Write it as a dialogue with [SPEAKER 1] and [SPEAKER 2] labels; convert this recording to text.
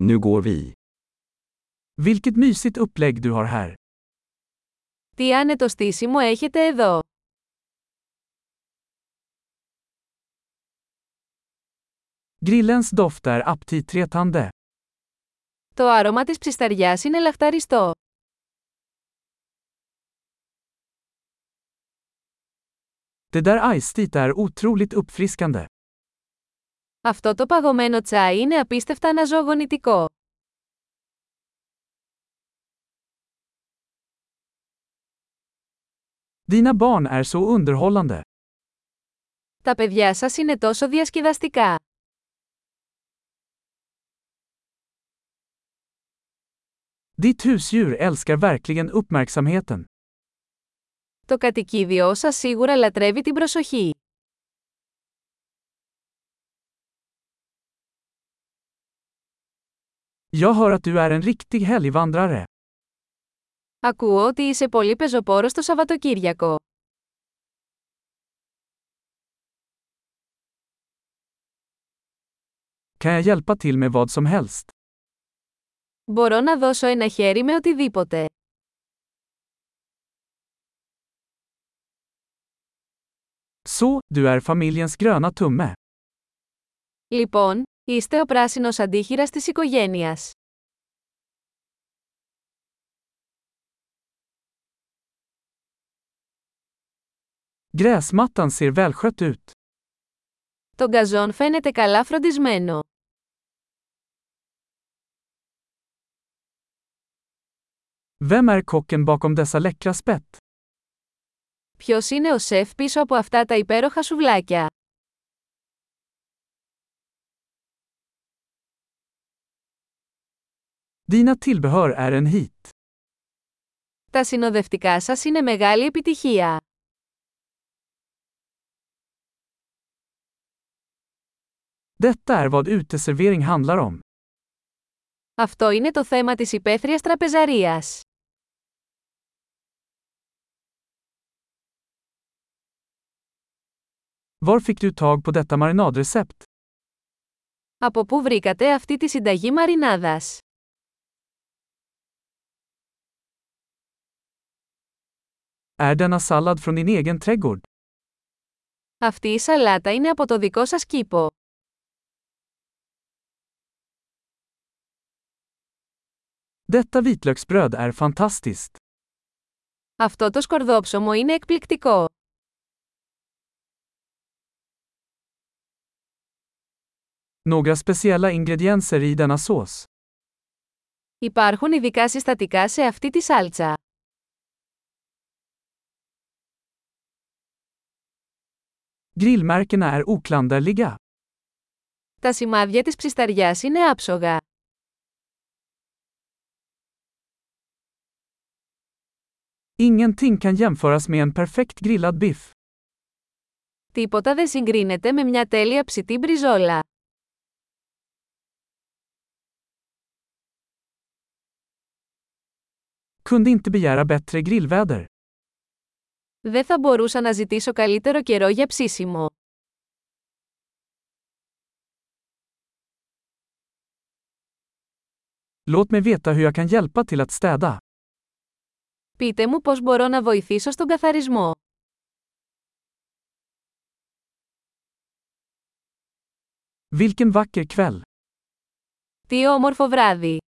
[SPEAKER 1] Nu går vi.
[SPEAKER 2] Vilket mysigt upplägg du har här.
[SPEAKER 3] Τι άνετο στήσιμο έχετε εδώ.
[SPEAKER 2] Grillens doft är aptitretande.
[SPEAKER 3] Το άρωμα της ψισταριάς είναι λαχταριστό.
[SPEAKER 2] Det där iced är otroligt uppfriskande.
[SPEAKER 3] Αυτό το παγωμένο τσάι είναι απίστευτα αναζωογονητικό.
[SPEAKER 2] Dina barn är så underhållande.
[SPEAKER 3] Τα παιδιά σας είναι τόσο διασκεδαστικά.
[SPEAKER 2] Ditt husdjur älskar verkligen uppmärksamheten.
[SPEAKER 3] Το κατοικίδιό σας σίγουρα λατρεύει την προσοχή.
[SPEAKER 2] Jag hör att du är en riktig helgvandrare.
[SPEAKER 3] Ακούω ότι είσαι πολύ πεζοπόρος το Σαββατοκύριακο.
[SPEAKER 2] Kan jag hjälpa till med vad som helst?
[SPEAKER 3] Μπορώ να δώσω ένα χέρι με οτιδήποτε.
[SPEAKER 2] Så, du är familjens gröna tumme.
[SPEAKER 3] Λοιπόν, είστε ο πράσινος αντίχειρας της οικογένειας.
[SPEAKER 2] Gräsmattan ser välskött ut.
[SPEAKER 3] Το γκαζόν φαίνεται καλά φροντισμένο.
[SPEAKER 2] Vem är kocken bakom dessa läckra spett?
[SPEAKER 3] Ποιος είναι ο σεφ πίσω από αυτά τα υπέροχα σουβλάκια.
[SPEAKER 2] Dina tillbehör är en hit.
[SPEAKER 3] Τα συνοδευτικά σας είναι μεγάλη επιτυχία.
[SPEAKER 2] Detta är vad uteservering handlar om.
[SPEAKER 3] Αυτό είναι το θέμα της υπαίθριας τραπεζαρίας.
[SPEAKER 2] Var fick du tag på detta marinadrecept?
[SPEAKER 3] Από πού βρήκατε αυτή τη συνταγή μαρινάδας.
[SPEAKER 2] Är denna sallad från din egen trädgård?
[SPEAKER 3] Αυτή η σαλάτα είναι από το δικό σας κήπο.
[SPEAKER 2] Detta vitlöksbröd är fantastiskt.
[SPEAKER 3] Αυτό το σκορδόψωμο είναι εκπληκτικό.
[SPEAKER 2] Några speciella ingredienser i denna sås.
[SPEAKER 3] Υπάρχουν ειδικά συστατικά σε αυτή τη σάλτσα.
[SPEAKER 2] Grillmärkena är oklanderliga.
[SPEAKER 3] Τα σημάδια της ψισταριάς είναι άψογα.
[SPEAKER 2] Ingenting kan jämföras med en perfekt grillad biff.
[SPEAKER 3] Τίποτα δεν συγκρίνεται με μια τέλεια ψητή μπριζόλα.
[SPEAKER 2] Kunde inte begära bättre grillväder.
[SPEAKER 3] Δεν θα μπορούσα να ζητήσω καλύτερο καιρό για ψήσιμο.
[SPEAKER 2] Låt mig veta hur jag kan hjälpa till att städa.
[SPEAKER 3] Πείτε μου πώς μπορώ να βοηθήσω στον καθαρισμό.
[SPEAKER 2] Vilken vacker kväll!
[SPEAKER 3] Τι όμορφο βράδυ!